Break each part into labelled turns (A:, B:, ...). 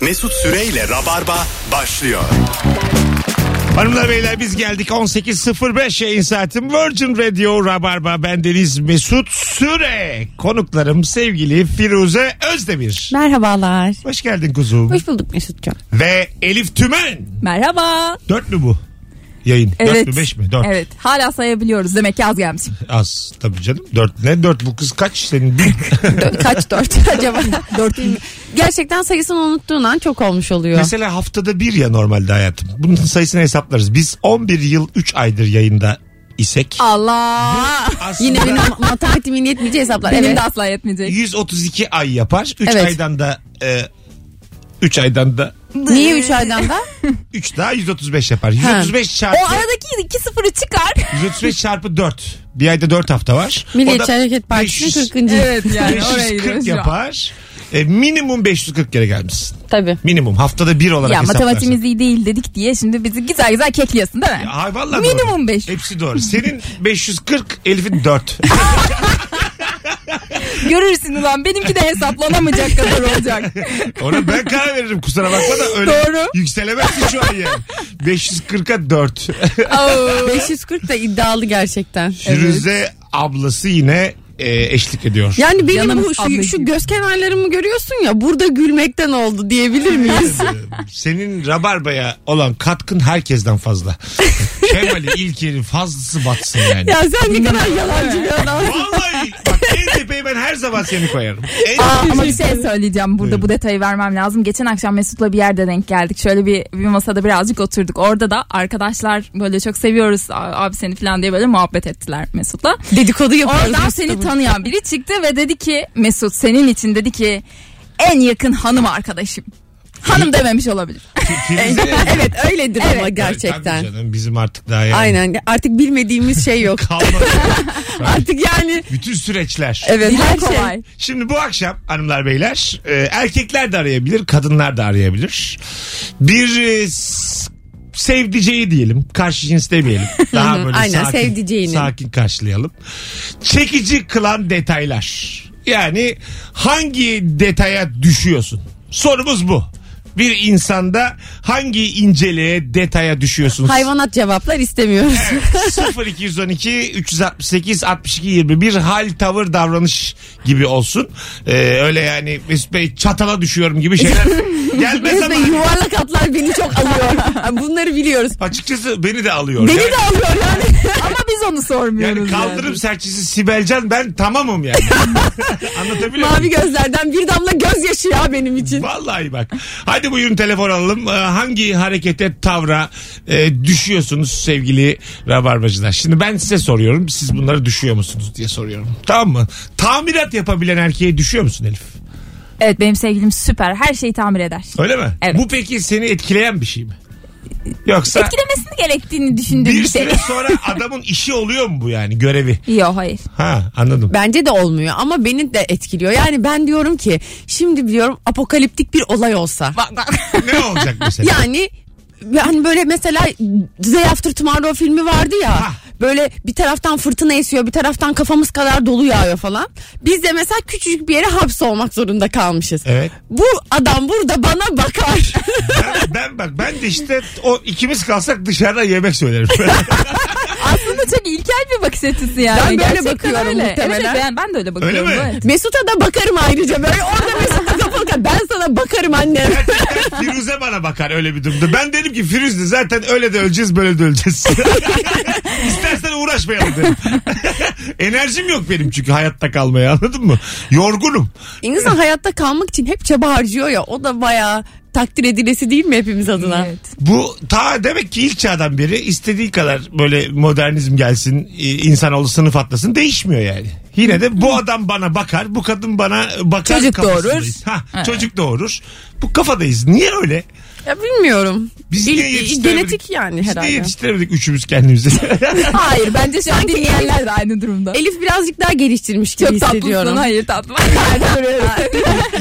A: Mesut Süreyle Rabarba başlıyor.
B: Hanımlar beyler biz geldik 18.05 yayın saatim Virgin Radio Rabarba bendeniz Mesut Süre konuklarım sevgili Firuze Özdemir
C: Merhabalar.
B: hoş geldin kuzum
C: Hoş bulduk Mesut'cum.
B: ve Elif Tümen
D: Merhaba.
B: dört mü bu yayın
D: Evet.
B: dört mü beş mi dört
D: Evet. Hala sayabiliyoruz. Demek ki az gelmiş.
B: az tabii canım dört ne dört bu kız kaç senin bir
D: Dö- Kaç dört acaba? dört mü?
C: Gerçekten sayısını unuttuğun an çok olmuş oluyor.
B: Mesela haftada bir ya normalde hayatım. Bunun sayısını hesaplarız. Biz 11 yıl 3 aydır yayında isek.
D: Allah.
B: Aslında
C: Yine benim matematiğimin yetmeyeceği hesaplar.
D: Benim
C: evet.
D: de asla yetmeyecek.
B: 132 ay yapar. 3
C: Evet.
B: aydan da 3 aydan da
C: Niye 3 aydan da?
B: 3 daha 135 yapar. 135
D: O
B: çarpı
D: aradaki iki sıfırı çıkar.
B: 135 çarpı 4. Bir ayda 4 hafta var. O
C: Milliyetçi
B: da
C: Hareket Partisi'nin
B: 500
C: 40.
D: evet yani
B: 540
D: oraya gidiyoruz şu an.
B: yapar. E, minimum 540 kere gelmişsin.
C: Tabii.
B: Minimum haftada bir olarak
D: Ya
B: hesaplarsın.
D: matematiğimiz iyi değil dedik diye şimdi bizi güzel güzel kekliyorsun değil mi?
B: Ay vallahi
D: Minimum
B: doğru.
D: 500.
B: Hepsi doğru. Senin 540, Elif'in 4.
D: Görürsün ulan benimki de hesaplanamayacak kadar olacak.
B: Ona ben karar veririm kusura bakma da öyle
D: Doğru.
B: yükselemezsin şu an yani. 540'a 4.
D: Oo.
C: 540 da iddialı gerçekten.
B: Firuze ablası yine e, eşlik ediyor.
C: Yani benim
D: Canım
C: bu şu,
D: ablacığım.
C: şu göz kenarlarımı görüyorsun ya burada gülmekten oldu diyebilir miyiz?
B: Ee, Senin rabarbaya olan katkın herkesten fazla. Kemal'i İlker'in fazlası batsın yani.
C: ya sen ne kadar yalancı bir adamsın.
B: Vallahi bak en tepeye ben her zaman seni koyarım. En
C: Ah,
D: Aa, ama bir şey söyleyeceğim burada bu detayı vermem lazım. Geçen akşam Mesut'la bir yerde denk geldik. Şöyle bir, bir masada birazcık oturduk. Orada da arkadaşlar böyle çok seviyoruz a- abi seni falan diye böyle muhabbet ettiler Mesut'la.
C: Dedikodu yapıyoruz.
D: Oradan
C: Mesut'la
D: seni
C: burada.
D: tanıyan biri çıktı ve dedi ki Mesut senin için dedi ki en yakın hanım arkadaşım. Hanım dememiş olabilir.
B: Firuze
C: evet öyledir ama
D: Evet.
B: Tabii
C: gerçekten.
B: canım bizim artık daha yani.
C: Aynen artık bilmediğimiz şey yok.
B: Kalmadı.
C: artık yani
B: Bütün süreçler.
C: evet
D: Dile
C: her şey.
D: kolay.
B: Şimdi bu akşam hanımlar beyler e, erkekler de arayabilir, kadınlar da arayabilir. Bir e, s- sevdiceyi diyelim, karşı cins demeyelim. Daha böyle
C: Aynen,
B: sakin,
C: sevdiceğini.
B: sakin karşılayalım. Çekici kılan detaylar. Yani hangi detaya düşüyorsun? Sorumuz bu. Bir insanda hangi inceliğe, detaya düşüyorsun?
C: Hayvanat cevaplar istemiyoruz.
B: 0212 368 62 21 hal tavır davranış gibi olsun. Ee, öyle yani Mesut Bey çatala düşüyorum gibi şeyler gelmez ama
C: Ve yuvarlak atlar beni çok alıyor. Yani Bunları biliyoruz.
B: açıkçası beni de alıyor.
C: Beni
B: yani,
C: de alıyor yani.
D: Ama biz onu
B: yani
D: sormuyoruz.
B: kaldırım serçesi Sibelcan ben tamamım yani. Anlatabiliyor
C: Mavi
B: muyum?
C: gözlerden bir damla gözyaşı ya benim için.
B: Vallahi bak. Hadi buyurun telefon alalım. Ee, hangi harekete, tavra e, düşüyorsunuz sevgili rabarbacılar? Şimdi ben size soruyorum. Siz bunları düşüyor musunuz diye soruyorum. Tamam mı? Tamirat yapabilen erkeğe düşüyor musun Elif?
D: Evet benim sevgilim süper her şeyi tamir eder.
B: Öyle mi?
D: Evet.
B: Bu peki seni etkileyen bir şey mi? Yoksa
D: Etkilemesini gerektiğini düşündüğüm bir,
B: bir
D: şey.
B: süre sonra adamın işi oluyor mu bu yani görevi?
D: Yok hayır.
B: Ha anladım.
C: Bence de olmuyor ama beni de etkiliyor. Yani ben diyorum ki şimdi diyorum apokaliptik bir olay olsa.
D: Bak bak.
B: ne olacak mesela?
C: Yani yani böyle mesela Zey After Tomorrow filmi vardı ya.
B: Ha.
C: Böyle bir taraftan fırtına esiyor, bir taraftan kafamız kadar dolu yağıyor falan. Biz de mesela küçücük bir yere hapsolmak zorunda kalmışız.
B: Evet.
C: Bu adam burada bana bakar.
B: Ben, ben bak ben de işte o ikimiz kalsak dışarıda yemek söylerim.
D: Aslında çok ilkel bir bakış açısı yani.
C: Ben böyle
D: Gerçekten
C: bakıyorum
D: öyle.
C: muhtemelen.
D: Evet, ben, ben de öyle bakıyorum.
B: Öyle mi?
D: evet.
C: Mesut'a da bakarım ayrıca böyle orada Mesut'a kapalı ben sana bakarım anne.
B: Gerçekten Firuze bana bakar öyle bir durumda. Ben dedim ki Firuze zaten öyle de öleceğiz böyle de öleceğiz. İstersen uğraşmayalım dedim. Enerjim yok benim çünkü hayatta kalmaya anladın mı? Yorgunum.
C: İnsan hayatta kalmak için hep çaba harcıyor ya o da bayağı takdir edilesi değil mi hepimiz adına?
D: Evet.
B: Bu ta demek ki ilk çağdan beri istediği kadar böyle modernizm gelsin, e, insanoğlu sınıf atlasın değişmiyor yani. Yine de bu adam bana bakar, bu kadın bana bakar.
D: Çocuk
B: kafasındayız. Ha, Çocuk doğurur. Bu kafadayız. Niye öyle?
C: Ya bilmiyorum.
B: Biz
C: İl-
B: niye
C: il-
B: yetiştiremedik?
C: genetik yani
B: Biz niye
C: herhalde.
B: yetiştiremedik üçümüz kendimizi?
D: Hayır bence şu an dinleyenler de aynı durumda.
C: Elif birazcık daha geliştirmiş gibi
D: Çok tatlısın
C: hissediyorum.
D: hayır tatlı.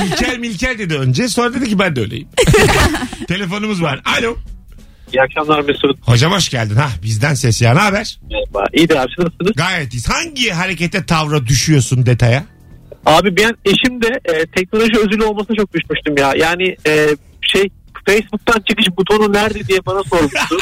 B: İlker Milker dedi önce. Sonra dedi ki ben de öyleyim. Telefonumuz var. Alo.
E: İyi akşamlar Mesut.
B: Hocam hoş geldin. Ha bizden ses ya. Ne haber?
E: Merhaba. İyidir abi siz nasılsınız?
B: Gayet iyiyiz. Hangi harekete tavra düşüyorsun detaya?
E: Abi ben eşim de e, teknoloji özürlü olmasına çok düşmüştüm ya. Yani e, şey Facebook'tan çıkış butonu nerede diye bana sormuştu.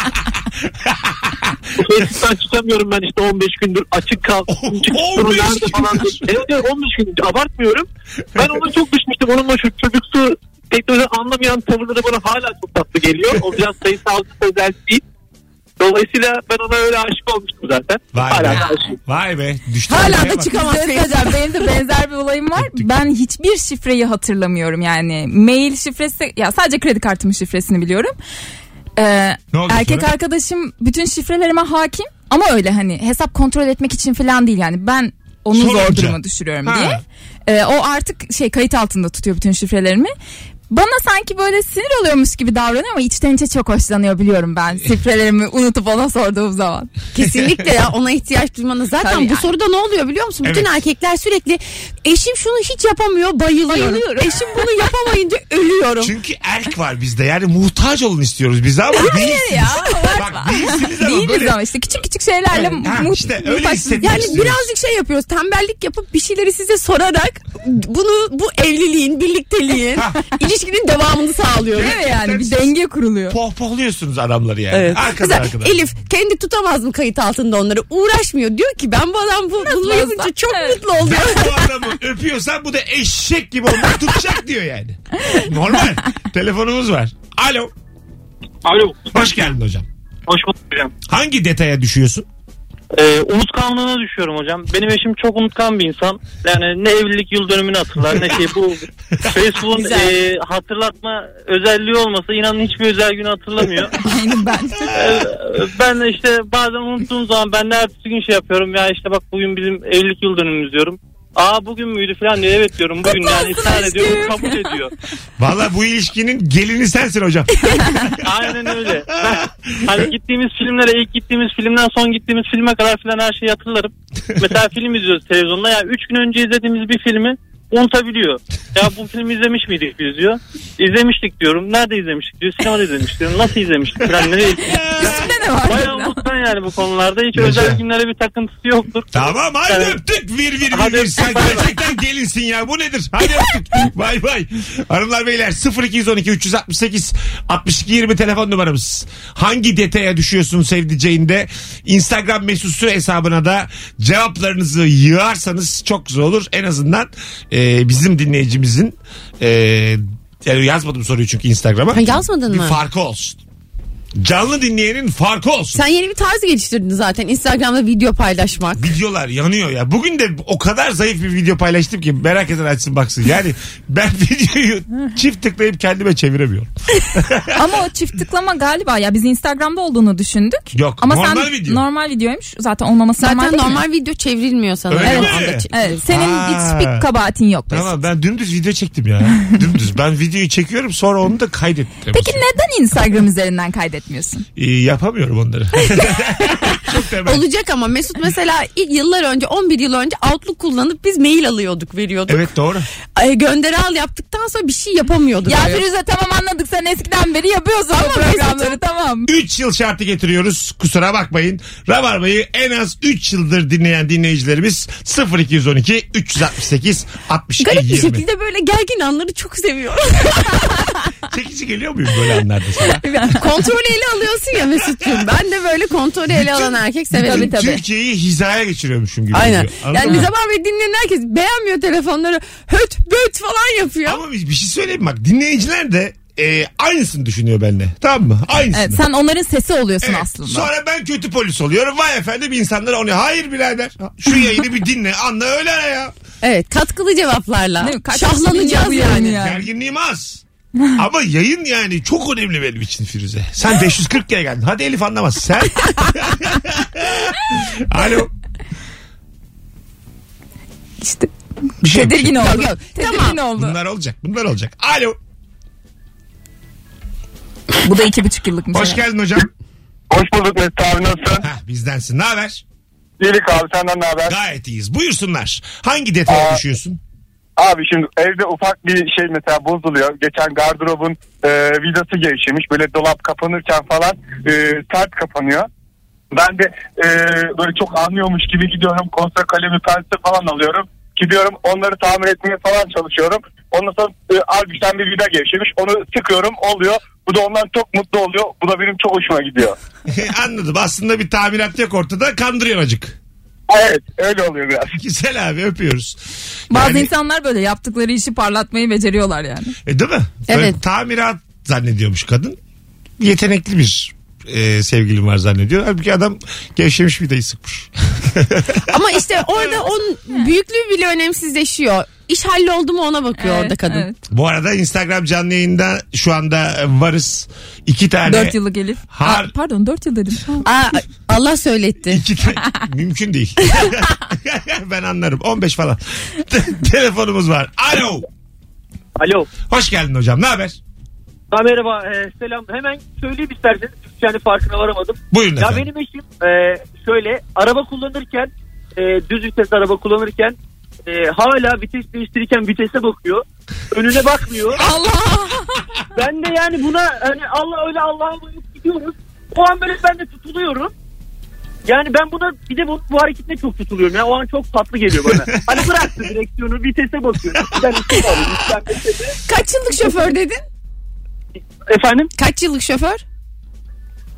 E: Facebook'tan çıkamıyorum ben işte 15 gündür açık kaldım. Çıkış butonu
B: 15
E: nerede falan. diye. Evet evet 15 gündür abartmıyorum. Ben ona çok düşmüştüm. Onunla şu çocuksu teknoloji anlamayan tavırları bana hala çok tatlı geliyor. O biraz sayısal özel değil. Dolayısıyla ben ona öyle aşık olmuştum zaten.
B: Vay
E: hala
B: be.
E: da aşığım.
B: Vay be. Düştü
C: Hala
B: ortaya
C: da
B: bak.
C: çıkamaz.
D: Size söyleyeceğim, benim de benzer bir olayım var. Ben hiçbir şifreyi hatırlamıyorum yani. Mail şifresi ya sadece kredi kartımın şifresini biliyorum. Ee,
B: Ne oldu
D: erkek
B: sonra?
D: arkadaşım bütün şifrelerime hakim ama öyle hani hesap kontrol etmek için falan değil yani ben onu zor
B: Sorunca.
D: duruma düşürüyorum
B: Ha.
D: diye. Ee, o artık şey kayıt altında tutuyor bütün şifrelerimi. Bana sanki böyle sinir oluyormuş gibi davranıyor ama içten içe çok hoşlanıyor biliyorum ben. Şifrelerimi unutup ona sorduğum zaman.
C: Kesinlikle ya ona ihtiyaç duymanız. Zaten
D: Tabii
C: bu
D: yani.
C: soruda ne oluyor biliyor musun? Bütün
B: Evet.
C: erkekler sürekli eşim şunu hiç yapamıyor bayılıyorum. Eşim bunu yapamayınca ölüyorum.
B: Çünkü erk var bizde. Yani muhtaç olun istiyoruz biz ama değilsiniz.
D: Ya
B: Bak değilsiniz ama
D: Değiliz
B: böyle.
D: ama işte küçük küçük şeylerle
B: Evet, ha,
D: mut-
B: işte öyle
D: mutlak-
B: hissetmek
D: Yani
C: Yani
B: istiyoruz.
C: birazcık şey yapıyoruz. Tembellik yapıp bir şeyleri size sorarak bunu bu evliliğin, birlikteliğin, ilişkinin devamını sağlıyoruz.
D: değil mi yani bir
B: Gerçekten-
D: denge kuruluyor.
B: Pohpohluyorsunuz adamları yani.
C: Evet.
B: Arkada
C: Mesela
B: arkada.
C: Elif kendi tutamaz mı kayıt altında onları? Uğraşmıyor. Diyor ki ben bu adam bu, bunu yapınca çok
D: Evet.
C: mutlu oluyor.
B: Ben bu adamı öpüyorsam bu da eşek gibi onu tutacak diyor yani. Normal. Telefonumuz var. Alo.
E: Alo.
B: Hoş geldin hocam.
E: Hoş bulduk hocam.
B: Hangi detaya düşüyorsun?
E: Ee, unutkanlığına düşüyorum hocam. Benim eşim çok unutkan bir insan. Yani ne evlilik yıl dönümünü hatırlar ne şey bu. Facebook'un
D: Güzel.
E: e, hatırlatma özelliği olmasa inanın hiçbir özel günü hatırlamıyor.
D: Aynen ben.
E: Ee, ben de işte bazen unuttuğum zaman ben de ertesi gün şey yapıyorum. Ya işte bak bugün bizim evlilik yıl dönümümüz diyorum. Aa bugün müydü falan diyor. Evet diyorum bugün yani ısrar ediyorum kabul ediyor.
B: Valla bu ilişkinin gelini sensin hocam.
E: Aynen öyle. Ben, hani gittiğimiz filmlere ilk gittiğimiz filmden son gittiğimiz filme kadar filan her şeyi hatırlarım. Mesela film izliyoruz televizyonda. Ya 3 gün önce izlediğimiz bir filmi unutabiliyor. Ya bu filmi izlemiş miydik biz diyor. İzlemiştik diyorum. Nerede izlemiştik diyor. Sinemada izlemiştik diyorum. Nasıl izlemiştik falan. Nereye izlemiştik?
D: Üstünde ne var?
E: Bayağı unutkan yani bu konularda. Hiç
B: Yaşa.
E: özel günlere bir takıntısı yoktur.
B: tamam hadi
E: Evet.
B: öptük. Vir vir vir.
E: Hadi
B: vir.
E: öptük,
B: Sen
E: bay bay.
B: gerçekten gelinsin ya. Bu nedir? Hadi öptük. bay bay. Hanımlar beyler 0212 368 62 20 telefon numaramız. Hangi detaya düşüyorsun sevdiceğinde? Instagram mesut Süre hesabına da cevaplarınızı yığarsanız çok güzel olur. En azından e, bizim dinleyicimizin e, yani yazmadım soruyu çünkü Instagram'a.
C: Ha, yazmadın
B: bir
C: mı?
B: farkı olsun. Canlı dinleyenin farkı olsun.
C: Sen yeni bir tarz geliştirdin zaten Instagram'da video paylaşmak.
B: videolar yanıyor ya. Bugün de o kadar zayıf bir video paylaştım ki merak eden açsın baksın. Yani ben videoyu çift tıklayıp kendime çeviremiyorum.
D: Ama o çift tıklama galiba ya biz Instagram'da olduğunu düşündük.
B: Yok,
D: Ama
B: normal
D: sen
B: video.
D: normal videoymuş. Zaten olmaması
C: Zaten
D: normal değil mi?
C: normal video çevrilmiyor sana.
B: Öyle
C: Evet.
B: mi?
C: O anda çe-
D: Evet, senin
B: Ha.
D: hiç bir kabahatin yok. Mesut.
B: Tamam ben dümdüz video çektim ya. dümdüz. Ben videoyu çekiyorum sonra onu da kaydettim.
D: Peki neden Instagram üzerinden kaydetmiyorsun?
B: Ee, yapamıyorum onları. Çok temel.
C: Olacak ama Mesut mesela ilk yıllar önce 11 yıl önce Outlook kullanıp biz mail alıyorduk veriyorduk.
B: Evet doğru.
C: Ay, gönderi al yaptıktan sonra bir şey yapamıyorduk.
D: Ya
C: Evet.
D: Firuze tamam anladık sen eskiden beri yapıyorsun bu programları tamam.
B: 3 yıl şartı getiriyoruz. Kusura bakmayın. Rabarba'yı en az 3 yıldır dinleyen dinleyicilerimiz 0212 368 62
C: Garip
B: 20.
C: bir şekilde böyle gergin anları çok seviyorum.
B: Çekici geliyor muyum böyle anlarda sana?
C: kontrolü ele alıyorsun ya Mesut'cum. Ben de böyle kontrolü ele alan erkek severim.
D: Tabii, tabii.
B: Türkiye'yi hizaya geçiriyormuşum gibi.
C: Aynen.
B: geliyor. Anladın
C: Yani
B: mı?
C: bize var ve dinleyen herkes beğenmiyor telefonları. Höt böt falan yapıyor.
B: Ama bir bir şey söyleyeyim bak dinleyiciler de e, aynısını düşünüyor benimle. Tamam mı? Aynısını.
D: Evet, sen onların sesi oluyorsun
B: Evet.
D: aslında.
B: Sonra ben kötü polis oluyorum. Vay efendim insanlar onu hayır birader. Şu yayını bir dinle. Anla öyle ara ya.
C: Evet katkılı cevaplarla.
D: Değil mi? Kaç kişi
C: Şahlanacağız
D: dinliyor bu
C: yani.
D: yayını ya?
B: Gerginliğim az. Ama yayın yani çok önemli benim için Firuze. Sen 540 kere geldin. Hadi Elif anlamaz. Sen. Alo.
D: İşte
B: Bir şey yok, bir şey
D: tedirgin
B: yok.
D: oldu.
C: Yok, yok.
D: Tedirgin oldu.
B: Bunlar olacak. Bunlar olacak. Alo.
D: Bu da iki buçuk yıllıkmış.
B: Hoş
D: herhalde.
B: geldin hocam.
F: Hoş bulduk Mesut abi nasılsın?
B: Hah bizdensin. Ne haber?
F: İyilik abi senden ne haber?
B: Gayet iyiyiz. Buyursunlar. Hangi detaya
F: Aa.
B: düşüyorsun?
F: Abi şimdi evde ufak bir şey mesela bozuluyor. Geçen gardırobun e, vidası gevşemiş. Böyle dolap kapanırken falan e, sert kapanıyor. Ben de e, böyle çok anlıyormuş gibi gidiyorum. Kontra kalemi pense falan alıyorum. Gidiyorum onları tamir etmeye falan çalışıyorum. Ondan sonra e, albüsten bir vida gevşemiş. Onu sıkıyorum oluyor. Bu da ondan çok mutlu oluyor. Bu da benim çok hoşuma gidiyor.
B: Anladım. Aslında bir tamirat yok ortada. Kandırıyor acık.
F: Evet öyle oluyor biraz.
B: Güzel abi öpüyoruz.
D: Bazı
B: Yani-
D: insanlar böyle yaptıkları işi parlatmayı beceriyorlar yani.
B: E, değil mi?
C: Evet.
B: Böyle tamirat zannediyormuş kadın. Yetenekli bir e, sevgilim var zannediyor. Halbuki adam gevşemiş vidayı sıkmış.
C: Ama işte orada onun büyüklüğü bile önemsizleşiyor. İş halloldu mu ona bakıyor
D: Evet,
C: orada kadın.
D: evet.
B: Bu arada Instagram canlı yayında şu anda varız. İki tane.
D: Dört yıllık Elif.
B: Hani Har-
D: Aa, pardon dört yıl dedim. Ha.
C: Aa, Allah söyletti.
B: İki tane. Mümkün değil. ben anlarım. 15 falan. Telefonumuz var. Alo.
E: Alo.
B: Hoş geldin hocam. Ne haber?
E: Ha, merhaba e, selam. Hemen söyleyeyim isterseniz. Çünkü yani farkına varamadım.
B: Buyurun
E: Ya
B: efendim.
E: benim eşim e, şöyle araba kullanırken e, düz vites araba kullanırken e, hala vites değiştirirken vitese bakıyor. Önüne bakmıyor.
D: Allah.
E: ben de yani buna hani Allah öyle Allah'a bayılıp gidiyoruz. O an böyle ben de tutuluyorum. Yani ben buna bir de bu, bu hareketine çok tutuluyorum. Yani o an çok tatlı geliyor bana. hani bıraktı direksiyonu vitese bakıyor. Ben şey vitese alayım, ben vitese-
C: Kaç yıllık şoför dedin?
E: Efendim?
C: Kaç yıllık şoför?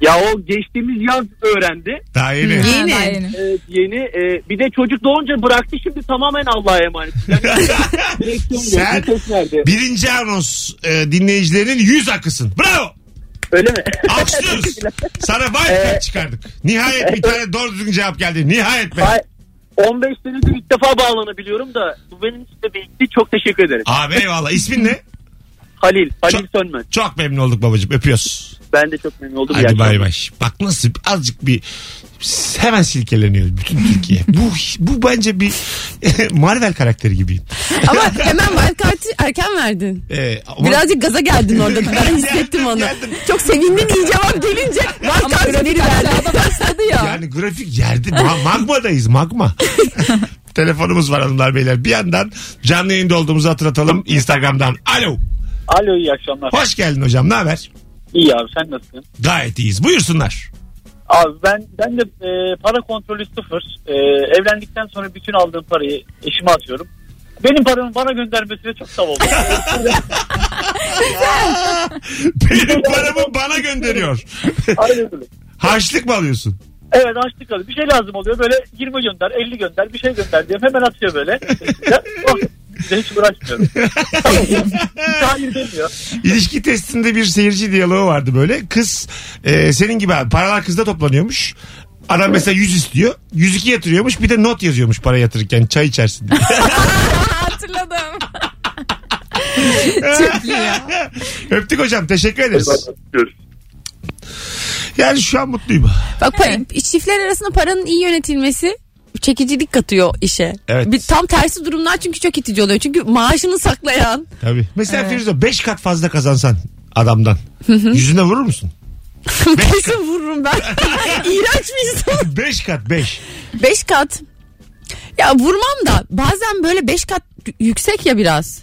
E: Ya o geçtiğimiz yaz öğrendi.
B: Daha yeni.
C: Hı.
D: Ha,
C: Yeni.
D: daha yeni.
E: Ee, yeni. e, bir de çocuk doğunca bıraktı şimdi tamamen Allah'a emanet. Yani direksiyon yok,
B: Sen-
E: vites nerede?
B: Birinci anons e, dinleyicilerinin yüz akısın. Bravo.
E: Öyle mi?
B: Alkışlıyoruz. Sana
E: Ee,
B: Wi-Fi çıkardık. Nihayet bir tane doğru düzgün cevap geldi. Nihayet be.
E: Ay, 15 senedir ilk defa bağlanabiliyorum da bu benim için de birikti. Çok teşekkür ederim.
B: Abi eyvallah. İsmin ne?
E: Halil, Halil
B: Çok-
E: Sönmez.
B: Çok memnun olduk babacığım. Öpüyoruz.
E: Ben de çok memnun oldum. İyi
B: Hadi
E: akşamlar.
B: bay bay. Bak nasıl azıcık bir hemen silkeleniyoruz bütün Türkiye. bu bu bence bir Marvel karakteri gibiyim.
C: Ama hemen wildcard'ı erken verdin.
B: Ee, ama-
C: Birazcık gaza geldin orada. Ben hissettim onu. Çok sevindin iyi cevap gelince wildcard'ı veri
D: Aşağıda başladı ya.
B: Yani grafik yerde ma- magmadayız magma. Telefonumuz var hanımlar beyler. Bir yandan canlı yayında olduğumuzu hatırlatalım Instagram'dan. Alo.
E: Alo iyi akşamlar.
B: Hoş geldin hocam. Ne haber?
E: İyi abi sen nasılsın?
B: Gayet iyiyiz. Buyursunlar.
E: Abi ben ben de e, para kontrolü sıfır. E, evlendikten sonra bütün aldığım parayı eşime atıyorum. Benim paramı bana göndermesine çok sağ olun.
B: Benim paramı bana gönderiyor.
E: Aynen öyle.
B: Harçlık mı alıyorsun?
E: Evet açtık kaldı. Bir şey lazım oluyor. Böyle 20 gönder, 50 gönder, bir şey gönder diyorum. Hemen atıyor böyle. Ya, oh, ben hiç uğraşmıyorum. Hayır demiyor.
B: İlişki testinde bir seyirci diyaloğu vardı böyle. Kız e, senin gibi abi paralar kızda toplanıyormuş. Adam mesela 100 istiyor. 102 yatırıyormuş. Bir de not yazıyormuş para yatırırken çay içersin diye.
D: Hatırladım. Çok iyi ya.
B: Öptük hocam. Teşekkür ederiz. Yani şu an mutluyum.
C: Bak pa- çiftler arasında paranın iyi yönetilmesi çekicilik katıyor işe.
B: Evet.
C: Bir, tam tersi durumlar çünkü çok itici oluyor. Çünkü maaşını saklayan.
B: Tabii. Mesela Firuze 5 kat fazla kazansan adamdan. Yüzüne vurur musun?
C: Kesin vururum ben. İğrenç bir insan.
B: 5 kat 5.
C: Beş kat. Ya vurmam da bazen böyle beş kat y- yüksek ya biraz.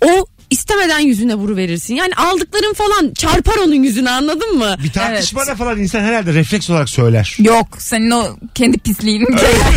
C: O istemeden yüzüne vuruverirsin. Yani aldıkların falan çarpar onun yüzüne anladın mı?
B: Bir tartışmada falan insan herhalde refleks olarak söyler.
D: Yok senin o kendi pisliğin.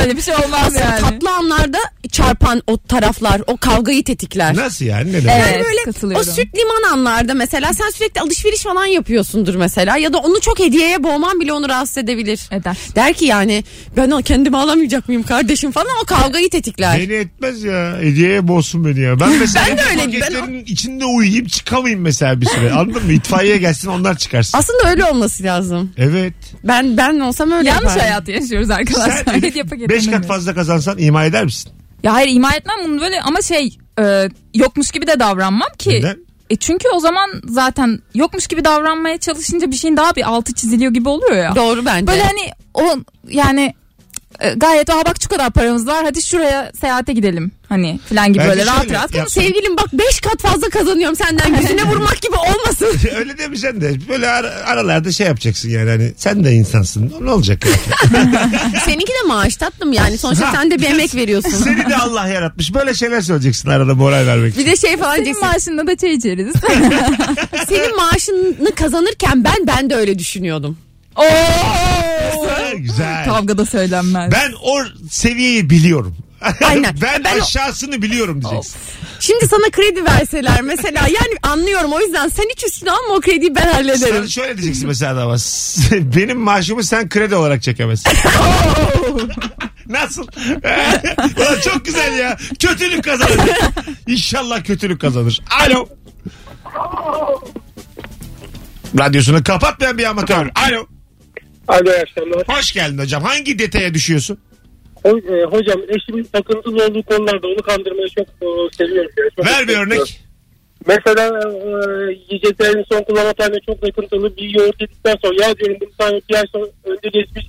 D: Böyle bir şey olmaz
C: Aslında
D: yani.
C: tatlı anlarda çarpan o taraflar o kavgayı tetikler.
B: Nasıl yani? Ne demek?
D: Evet,
C: Yani böyle o
D: katılıyorum.
C: süt liman anlarda mesela sen sürekli alışveriş falan yapıyorsundur mesela ya da onu çok hediyeye boğman bile onu rahatsız edebilir.
D: Eder.
C: Der ki yani ben o kendimi alamayacak mıyım kardeşim falan o kavgayı tetikler.
B: Beni etmez ya. Hediyeye bozsun beni ya. Ben mesela
C: Ben de öyle.
B: paketlerin içinde uyuyayım çıkamayayım mesela bir süre. Anladın mı? İtfaiye gelsin onlar çıkarsın.
C: Aslında öyle olması lazım.
B: Evet.
C: Ben ben olsam öyle
D: Yanlış
C: yapardım.
D: hayatı yaşıyoruz arkadaşlar. Hediye paketi
B: 5 kat
D: önemli.
B: fazla kazansan ima eder misin?
D: Ya hayır ima etmem bunu böyle ama şey e, yokmuş gibi de davranmam ki.
B: Neden?
D: E çünkü o zaman zaten yokmuş gibi davranmaya çalışınca bir şeyin daha bir altı çiziliyor gibi oluyor ya.
C: Doğru bence.
D: Böyle hani o yani e, gayet aha bak şu kadar paramız var hadi şuraya seyahate gidelim hani falan gibi
B: Bence
D: böyle rahat
B: şöyle
D: rahat.
B: yap-
C: Sevgilim bak 5 kat fazla kazanıyorum senden yüzüne vurmak gibi olmasın.
B: öyle demeyeceksin de böyle ara- aralarda şey yapacaksın yani hani sen de insansın ne olacak yani?
C: Seninki de maaş tatlım yani sonuçta sen de bir emek veriyorsun.
B: seni de Allah yaratmış böyle şeyler söyleyeceksin arada moral vermek için.
C: Bir de şey falan
D: Senin
C: diyeceksin.
D: maaşında da çay içeriz.
C: Senin maaşını kazanırken ben ben de öyle düşünüyordum.
D: Oo!
B: Güzel.
D: Kavgada söylenmez.
B: Ben o seviyeyi biliyorum.
C: Aynen.
B: ben,
C: Ben o-
B: aşağısını biliyorum diyeceksin.
C: Şimdi sana kredi verseler mesela yani anlıyorum o yüzden sen hiç üstüne alma o krediyi ben
B: Sana
C: hallederim.
B: şöyle diyeceksin mesela adama. "S- Benim maaşımı sen kredi olarak çekemezsin. Nasıl? Ulan çok güzel ya. Kötülük kazanır. İnşallah kötülük kazanır. Alo. Radyosunu kapat ben bir amatör. Alo.
E: Alo iyi akşamlar.
B: Hoş geldin hocam. Hangi detaya düşüyorsun?
E: Ho- e, hocam eşimin takıntılı olduğu konularda onu kandırmayı çok e, seviyorum. yani. Çok
B: Ver bir
E: seviyorum.
B: örnek.
E: Mesela e, yiyeceklerin son kullanma tarihine çok takıntılı bir yoğurt yedikten sonra ya diyorum bunu sana bir ay sonra önde geçmiş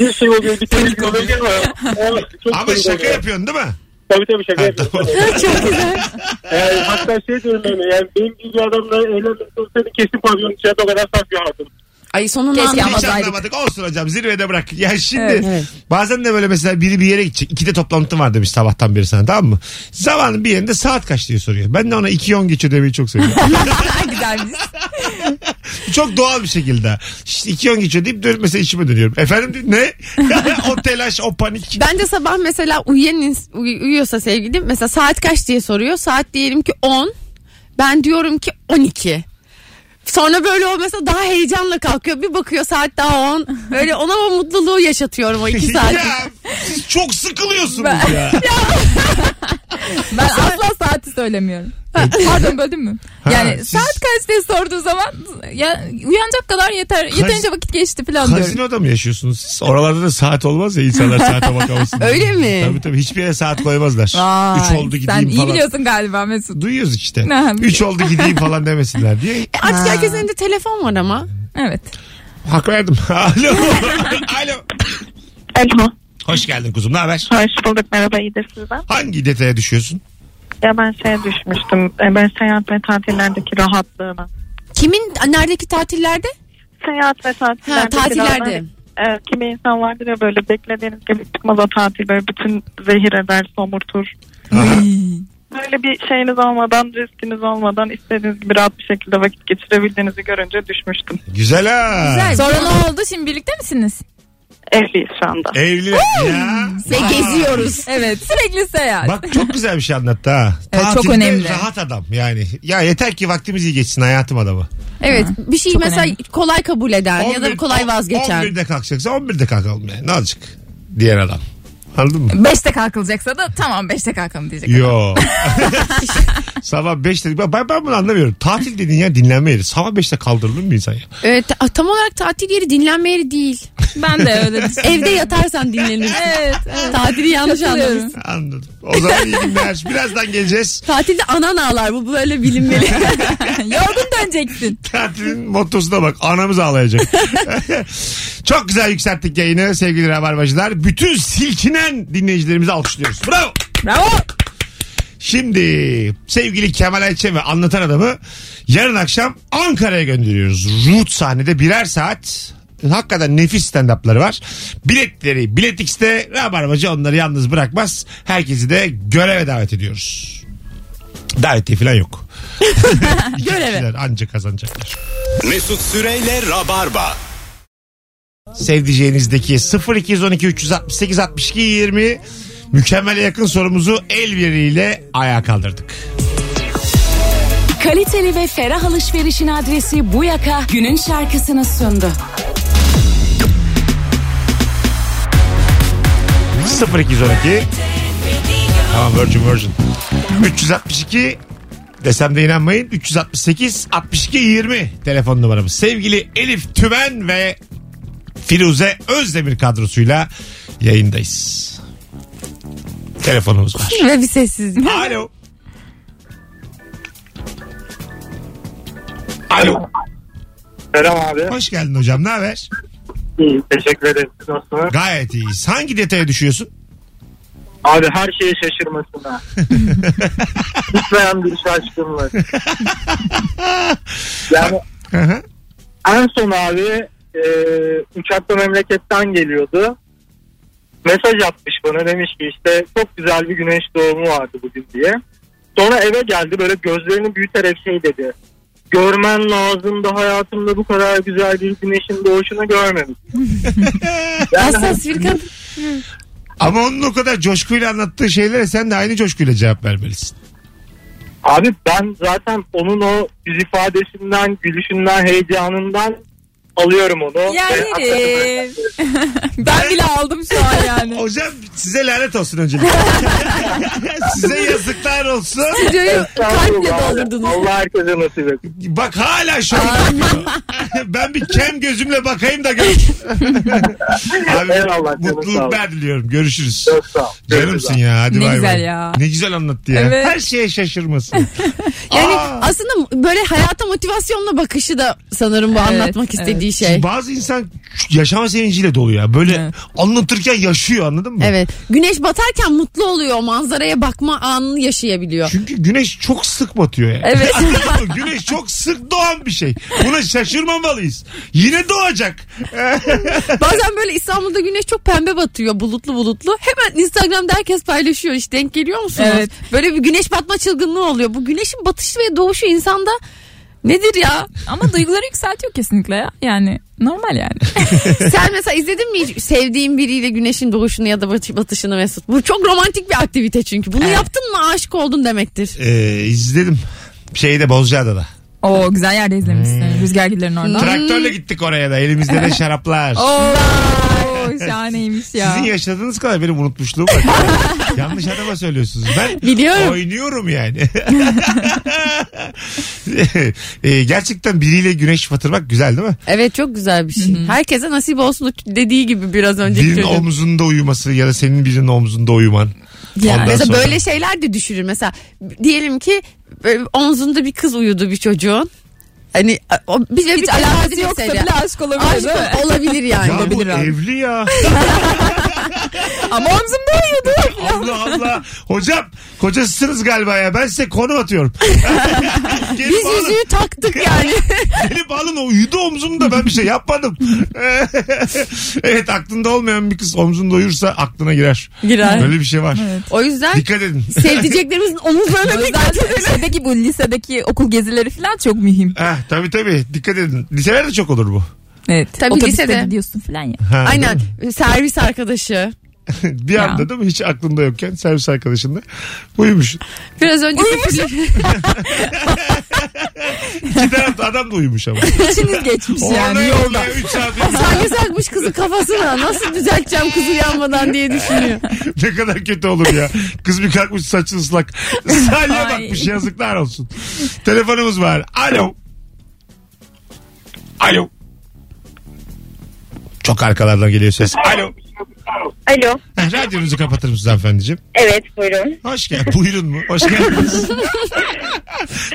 E: bir şey oluyor bir tane bir olabilir mi? O çok
B: Ama
E: komik
B: şaka
E: oluyor.
B: yapıyorsun değil mi?
E: Tabii tabii şaka
B: Ha,
E: yapıyorum.
B: tamam.
C: Çok güzel.
E: Yani hatta şey diyorum yani, yani benim gibi adamla evlenmek olsaydı kesin pavyon içeride o kadar saf bir hatun.
C: Ay sonunu
D: Keşke
C: anlamadım.
B: Hiç
D: Anlamaydık.
B: anlamadık. Olsun hocam zirvede bırak. Ya şimdi
D: Evet,
C: evet.
B: bazen de böyle mesela biri bir yere gidecek. İkide toplantım var demiş sabahtan beri sana tamam mı? Zamanın bir yerinde saat kaç diye soruyor. Ben de ona 2.10 geçiyor demeyi çok seviyorum.
D: Güzelmiş.
B: çok doğal bir şekilde. İşte 2.10 geçiyor deyip dönüp mesela içime dönüyorum. Efendim diyor, ne? o telaş o panik.
C: Ben de sabah mesela uyuyan ins- uy- uyuyorsa sevgilim mesela saat kaç diye soruyor. Saat diyelim ki 10. Ben diyorum ki 12. Sonra böyle o mesela daha heyecanla kalkıyor. Bir bakıyor saat daha 10. Böyle ona o mutluluğu yaşatıyorum o 2 saat.
B: ya siz çok sıkılıyorsunuz
D: Ben-
B: ya.
D: Ben asla saati söylemiyorum. Pardon böldüm mü?
B: E, Ha,
D: Yani
B: siz-
D: saat kaç diye sorduğu zaman ya, uyanacak kadar yeter. Yeterince vakit geçti falan diyorum.
B: Kazinoda mı yaşıyorsunuz siz? Oralarda da saat olmaz ya insanlar saate bakamasın. diye.
C: Öyle mi?
B: Tabii tabii hiçbir yere saat koymazlar.
D: Vay,
B: Üç oldu
D: Sen
B: gideyim
D: iyi
B: falan.
D: biliyorsun galiba Mesut.
B: Duyuyoruz işte.
D: Ha,
B: Üç oldu gideyim falan demesinler diye.
C: E Artık herkesin elinde telefon var ama.
D: Evet.
B: Hak verdim. Alo. Alo.
G: Alo.
B: Hoş geldin kuzum. Ne haber?
G: Hoş bulduk. Merhaba. iyidir sizden.
B: Hangi detaya düşüyorsun?
G: Ya ben şeye düşmüştüm. E, Ben seyahat ve tatillerdeki rahatlığına.
C: Kimin neredeki tatillerde?
G: Seyahat ve tatillerde.
C: Ha, tatillerde.
G: biraz- e, kimi insan vardır ya böyle beklediğiniz gibi çıkmaz o tatil böyle bütün zehir eder, somurtur.
B: Aha.
G: Böyle bir şeyiniz olmadan, riskiniz olmadan istediğiniz gibi rahat bir şekilde vakit geçirebildiğinizi görünce düşmüştüm.
B: Güzel ha.
C: Güzel.
D: Sonra ne oldu? Şimdi birlikte misiniz?
G: Evliyiz şu anda.
B: Evliler ya.
C: Ve
B: Vay.
C: geziyoruz.
D: Evet. Sürekli seyahat.
B: Bak çok güzel bir şey anlattı ha.
D: Evet, çok
B: Tatilde
D: önemli.
B: Rahat adam yani. Ya yeter ki vaktimiz iyi geçsin hayatım adamı.
C: Evet bir şeyi
D: Çok
C: mesela
D: önemli.
C: kolay kabul eden ya da
B: 11
C: kolay vazgeçen.
B: 11'de kalkacaksa 11'de kalkalım yani. Ne olacak? Diğer adam. Anladın mı?
D: Beşte kalkılacaksa da tamam beşte kalkalım diyecek.
B: Yo. Sabah 5'te. Ben, ben bunu anlamıyorum. Tatil dediğin ya dinlenme yeri. Sabah 5'te kaldırılır mı insan ya?
C: Evet, ta- tam olarak tatil yeri dinlenme yeri değil.
D: Ben de öyle düşünüyorum.
C: Evde yatarsan dinlenirsin.
D: Evet. evet.
C: Tatili yanlış
D: Katılıyorum.
C: anlamışsın.
B: Anladım. O zaman iyi günler. Birazdan geleceğiz.
C: Tatilde anan ağlar bu böyle bilinmeli.
D: Yorgun döneceksin.
B: Tatilin mottosuna bak. Anamız ağlayacak. Çok güzel yükselttik yayını sevgili rabarbacılar. Bütün silkinen dinleyicilerimizi alkışlıyoruz. Bravo.
D: Bravo.
B: Şimdi sevgili Kemal Ayçe ve anlatan adamı yarın akşam Ankara'ya gönderiyoruz. Root sahnede birer saat hakikaten nefis stand-up'ları var. Biletleri Bilet X'te Rabarbacı onları yalnız bırakmaz. Herkesi de göreve davet ediyoruz. Davetiye falan yok. göreve. Ancak kazanacaklar.
A: Mesut Süreyle Rabarba.
B: sevdiceğinizdeki 0212 368 62 20 mükemmele yakın sorumuzu el veriyle ayağa kaldırdık.
H: Kaliteli ve ferah alışverişin adresi bu yaka günün şarkısını sundu.
B: 0212 Tamam Virgin Virgin. 362 desem de inanmayın 368 62 20 telefon numaramız. Sevgili Elif Tümen ve Firuze Özdemir kadrosuyla yayındayız. Telefonumuz var.
C: Ve bir sessizlik.
B: Alo. Alo.
E: Selam abi.
B: Hoş geldin hocam. Ne haber?
E: İyi, teşekkür ederim. Siz nasılsınız?
B: Gayet iyiyiz. Hangi detaya düşüyorsun?
E: Abi her şeye şaşırmasına. Bitmeyen bir şey şaşkınlık. yani
B: Hı hı.
E: en son abi e, uçakla memleketten geliyordu. Mesaj atmış bana demiş ki işte çok güzel bir güneş doğumu vardı bugün diye. Sonra eve geldi böyle gözlerini büyüterek şey dedi. Görmen lazımdı hayatımda bu kadar güzel bir güneşin doğuşunu görmemiştim.
C: Hassas bir kadın.
B: Ama onun o kadar coşkuyla anlattığı şeylere sen de aynı coşkuyla cevap vermelisin.
E: Abi ben zaten onun o yüz ifadesinden, gülüşünden, heyecanından alıyorum onu. Ee,
D: Ya
E: Ve
D: herif. ben bile aldım şu an yani.
B: Hocam size lanet olsun öncelikle. size yazıklar olsun.
C: Stüdyoyu kalple
E: Estağfurullah.
C: doldurdunuz.
E: Allah herkese nasip etsin.
B: Bak hala şu Ben bir kem gözümle bakayım da gör. Abi,
E: Eyvallah, canım, sağ ol.
B: mutluluklar diliyorum. Görüşürüz.
E: Çok sağ ol.
B: Canımsın ya. Hadi
D: Ne
B: bay
D: güzel
B: bay.
D: ya.
B: Ne güzel anlattı ya.
D: Evet.
B: Her şeye şaşırmasın.
C: Yani
B: Aa.
C: aslında böyle hayata motivasyonla bakışı da sanırım bu
D: Evet,
C: anlatmak istediği şey.
B: Bazı insan yaşama sevinciyle dolu ya. Böyle
D: Evet.
B: anlatırken yaşıyor anladın mı?
C: Evet. Güneş batarken mutlu oluyor. Manzaraya bakma anını yaşayabiliyor.
B: Çünkü güneş çok sık batıyor yani.
D: Evet.
B: Anladın mı? güneş çok sık doğan bir şey. Buna şaşırmamalıyız. Yine doğacak.
C: Bazen böyle İstanbul'da güneş çok pembe batıyor. Bulutlu bulutlu. Hemen Instagram'da herkes paylaşıyor. Hiç denk geliyor musunuz?
D: Evet.
C: Böyle bir güneş batma çılgınlığı oluyor. Bu güneşin batışı ve doğuşu insanda nedir ya?
D: Ama duyguları yükseltiyor kesinlikle ya. Yani normal yani.
C: Sen mesela izledin mi hiç sevdiğin biriyle güneşin doğuşunu ya da bat- batışını Mesut? Bu çok romantik bir aktivite çünkü. Bunu
D: Evet.
C: yaptın mı aşık oldun demektir.
B: Ee, izledim. Şeyde Bozcaada'da.
D: Oo güzel yerde izlemişsin.
B: Hmm.
D: Rüzgargillerin orada.
B: Traktörle gittik oraya da. Elimizde de şaraplar.
D: Oo şahaneymiş ya.
B: Sizin yaşadığınız kadar benim unutmuşluğum var. Yanlış adama söylüyorsunuz. Ben
C: Biliyorum.
B: oynuyorum yani. Ee, gerçekten biriyle güneş batırmak güzel değil mi?
C: Evet çok güzel bir şey. Herkese nasip olsun dediği gibi biraz önceki
B: Birinin
C: çocuğun.
B: omzunda uyuması ya da senin birinin omzunda uyuman.
D: Yani.
B: Ondan
C: Mesela
B: sonra-
C: böyle şeyler de düşürür. Mesela diyelim ki böyle omzunda bir kız uyudu bir çocuğun. Hani o, bir, bir
D: Hiç
C: telafi
D: alakası yoksa
C: mesele.
D: bile aşk olabilir değil mi?
C: Aşk olabilir yani.
B: Ya bu
D: Olabilir abi.
B: evli ya.
D: Ama omzumda uyudu.
B: Allah Allah. Hocam kocasısınız galiba ya. Ben size konum atıyorum. gelip,
C: Biz
B: alın,
C: yüzüğü taktık yani.
B: gelip alın o uyudu omzumda ben bir şey yapmadım. evet aklında olmayan bir kız omzunda uyursa aklına girer.
C: Girer.
B: Böyle bir şey var.
C: O yüzden
B: Dikkat edin.
C: sevdiceklerimizin omuzlarına
D: O yüzden şeydeki bu lisedeki okul gezileri falan çok mühim.
B: Ha, Ah, tabii tabii dikkat edin. Liselerde çok olur bu.
D: Evet.
C: Tabii
D: Otobüste
C: lisede.
D: gidiyorsun falan ya.
B: Ha,
C: Aynen servis arkadaşı.
B: değil mi? Bir anda
D: Ya.
B: değil mi? Hiç aklında yokken servis arkadaşında uyumuş.
C: Biraz önce
B: İki tarafta adam da uyumuş ama.
D: İçiniz geçmiş
B: Orada
D: yani yolda.
B: yolda. 3 saat uyumuş.
C: salya takmış kızın kafasına. Nasıl düzelteceğim kızı yanmadan diye düşünüyor.
B: ne kadar kötü olur ya. Kız bir kalkmış saçı ıslak. Salya
D: Ay.
B: bakmış yazıklar olsun. Telefonumuz var. Alo. Alo. Çok arkalardan geliyor ses. Alo.
I: Alo.
B: Heh, Radyonuzu kapatır mısınız hanımefendiciğim?
I: Evet buyurun.
B: Hoş geldin. Buyurun mu? Hoş geldiniz.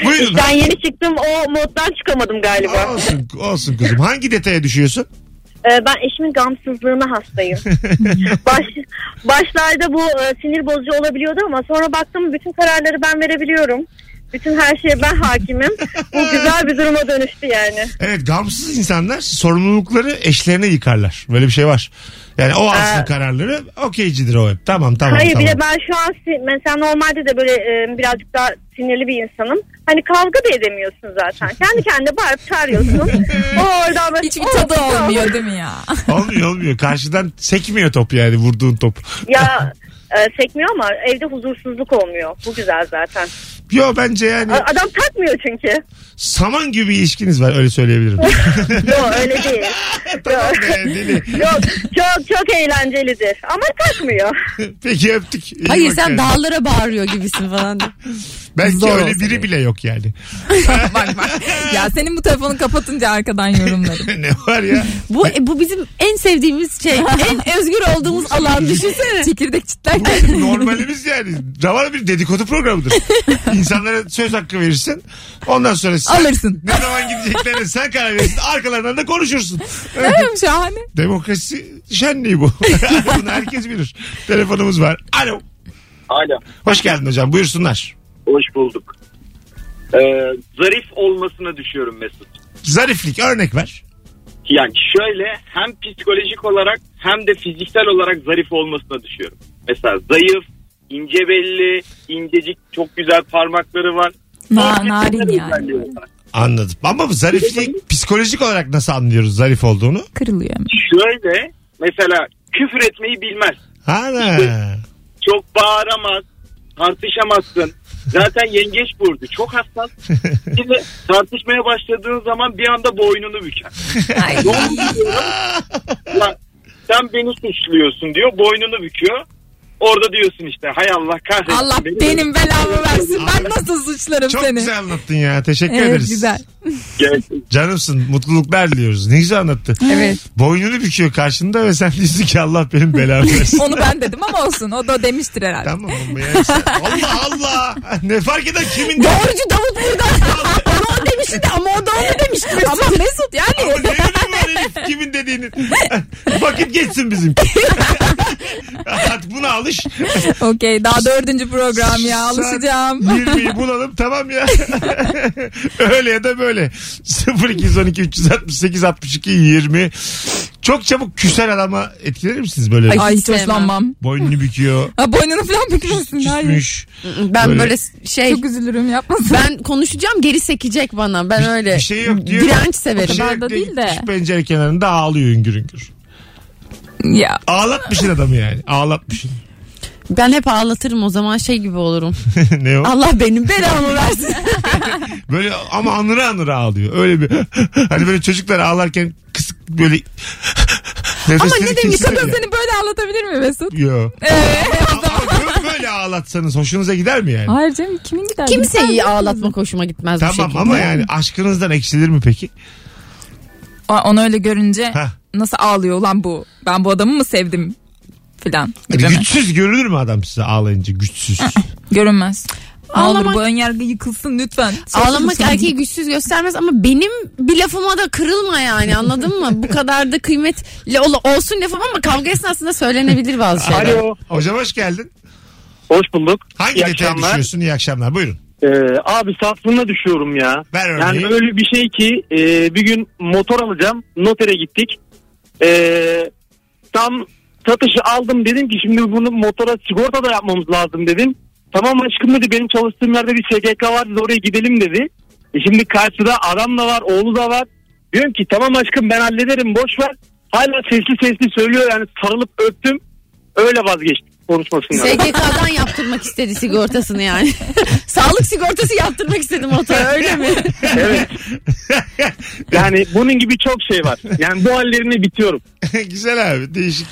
B: Buyurun.
I: Ben yeni çıktım o moddan çıkamadım galiba.
B: Olsun, olsun kızım. Hangi detaya düşüyorsun?
I: Ee, ben eşimin gamsızlığına hastayım. Baş, başlarda bu e, sinir bozucu olabiliyordu ama sonra baktım bütün kararları ben verebiliyorum. Bütün her şeye ben hakimim. Bu güzel bir duruma dönüştü yani.
B: Evet gamsız insanlar sorumlulukları eşlerine yıkarlar. Böyle bir şey var. Yani o alsın
I: Ee,
B: kararları okeycidir o hep. Tamam tamam
I: Hayır
B: tamam.
I: bir de ben şu an si- mesela normalde de böyle e, birazcık daha sinirli bir insanım. Hani kavga da edemiyorsun zaten. Kendi kendine bağırıp çağırıyorsun. o oradan böyle,
D: Hiçbir tadı
I: "Oh, oh."
D: olmuyor değil mi ya?
B: Olmuyor olmuyor. Karşıdan sekmiyor top yani vurduğun top.
I: Ya e, sekmiyor ama evde huzursuzluk olmuyor. Bu güzel zaten.
B: Yo bence yani
I: A- Adam takmıyor çünkü.
B: saman gibi bir ilişkiniz var öyle söyleyebilirim.
I: Yok öyle değil.
B: tamam be deli.
I: Yok çok çok eğlencelidir ama takmıyor.
B: Peki öptük. İyi
C: Hayır
B: bak
C: sen
B: yani.
C: dağlara bağırıyor gibisin falan. diye.
B: Belki
D: Zor
B: öyle
D: olsa
B: biri
D: gerek.
B: bile yok yani.
D: bak bak. Ya senin bu telefonu kapatınca arkadan yorumlarım.
B: ne var ya?
C: Bu e, bu bizim en sevdiğimiz şey. En özgür olduğumuz alan düşünsene.
D: Çekirdek çitlerken.
B: Bizim normalimiz yani. Ravar bir dedikodu programıdır. İnsanlara söz hakkı verirsin. Ondan sonra sen
D: Alırsın.
B: ne zaman gideceklerine sen karar verirsin. Arkalarından da konuşursun.
D: Değil mi şahane?
B: Demokrasi şenliği bu. Bunu herkes bilir. Telefonumuz var. Alo.
E: Hala.
B: Hoş geldin hocam. Buyursunlar.
E: Hoş bulduk. Ee, zarif olmasına düşüyorum Mesut.
B: Zariflik örnek ver.
E: Yani şöyle hem psikolojik olarak hem de fiziksel olarak zarif olmasına düşüyorum. Mesela zayıf, ince belli, incecik çok güzel parmakları var.
D: Na, narin yani.
E: Özelliği var.
B: Anladım. Ama bu zariflik psikolojik olarak nasıl anlıyoruz zarif olduğunu?
D: Kırılıyor. hemen.
E: Şöyle mesela küfür etmeyi bilmez.
B: Ana.
E: Çok bağıramaz, tartışamazsın. Zaten yengeç burcu çok hassas. Şimdi tartışmaya başladığın zaman bir anda boynunu büker. Ne oldu diyorum? Ulan sen beni suçluyorsun diyor, boynunu büküyor. Orada diyorsun işte hay Allah kahretsin.
D: Allah
E: beni."
D: benim belamı versin. Ben nasıl suçlarım
B: Çok
D: seni?
B: güzel anlattın ya. Teşekkür
D: Evet
B: ederiz.
D: güzel.
E: Gerçekten.
B: Canımsın. Mutluluklar diliyoruz. Ne güzel anlattı.
D: Evet.
B: Boynunu büküyor karşında ve sen diyorsun ki Allah benim belamı versin.
D: Onu ben dedim ama olsun. O da demiştir herhalde.
B: tamam mı? Yani sen- Allah Allah. Ne fark eder kimin
C: Doğrucu Davut burada. Ona o demişti de ama o da onu demişti.
D: Ama Mesut
B: Ama
D: yani.
B: ne önemi var herif kimin dediğinin. Vakit geçsin bizim. Artık buna alış.
D: Okey daha dördüncü program ya
B: Saat
D: alışacağım.
B: 20'yi bulalım tamam ya. Öyle ya da böyle. 0212 368 62 20. Çok çabuk küser adama etkilenir misiniz böyle?
D: Ay, hiç
C: sevmem.
D: hoşlanmam.
B: Boynunu büküyor.
D: Ha, boynunu falan bükmesin. Hayır.
B: Küsmüş.
C: Ben
B: Böyle-
C: böyle, şey
D: Çok üzülürüm yapmasın.
C: ben konuşacağım geri sekecek bana. Ben öyle
B: Bir şey yok diyor.
C: direnç
B: Bir
C: severim.
B: şey yok
D: Barda
B: diyor.
D: değil de.
B: Gitmiş pencere kenarında ağlıyor üngür üngür.
D: Ya.
B: Ağlatmışsın adamı yani. Ağlatmışsın.
C: Ben hep ağlatırım o zaman şey gibi olurum.
B: ne o?
C: Allah benim belamı versin.
B: Böyle ama anıra anıra ağlıyor. Öyle bir hani böyle çocuklar ağlarken kısık böyle
C: Ama ne demiş
D: Kadın seni böyle anlatabilir mi Mesut?
B: Yok.
D: Ee,
B: böyle ağlatsanız hoşunuza gider mi yani?
D: Hayır canım kimin gider? Gitmez
C: Kimseyi
D: mi?
C: ağlatmak hoşuma gitmez bu
B: Tamam
C: şekilde.
B: ama yani aşkınızdan eksilir mi peki?
D: O- Onu öyle görünce
B: Heh.
D: nasıl ağlıyor lan bu? Ben bu adamı mı sevdim? Filan.
E: E,
B: Hani güçsüz görülür mü adam size ağlayınca güçsüz?
D: Görünmez. Ağlamak...
C: Ağlamak-
D: bu önyargı yıkılsın lütfen.
C: Ağlamak
D: Sözünü
C: erkeği güçsüz göstermez ama benim bir lafıma da kırılma yani anladın mı? Bu kadar da kıymetli ol- olsun lafım ama kavga esnasında söylenebilir bazı şeyler.
E: Alo.
B: Hocam hoş geldin.
E: Hoş bulduk.
B: Hangi
E: İyi
B: detaya
E: akşamlar.
B: düşüyorsun? İyi akşamlar. Buyurun.
E: Ee, abi saflığına düşüyorum ya.
B: Ver örneği.
E: Yani öyle bir şey ki e, bir gün motor alacağım. Notere gittik. E, tam satışı aldım dedim ki şimdi bunu motora sigorta da yapmamız lazım dedim. Tamam aşkım dedi benim çalıştığım yerde bir SGK var biz oraya gidelim dedi. E şimdi karşıda adam da var oğlu da var. Diyorum ki tamam aşkım ben hallederim boş ver. Hala sesli sesli söylüyor yani sarılıp öptüm. Öyle vazgeçtim konuşmasından.
C: SGK'dan yaptırmak istedi sigortasını yani. Sağlık sigortası yaptırmak istedim motora öyle mi?
E: Evet. Yani bunun gibi çok şey var. Yani bu hallerine bitiyorum.
B: Güzel abi. Değişik.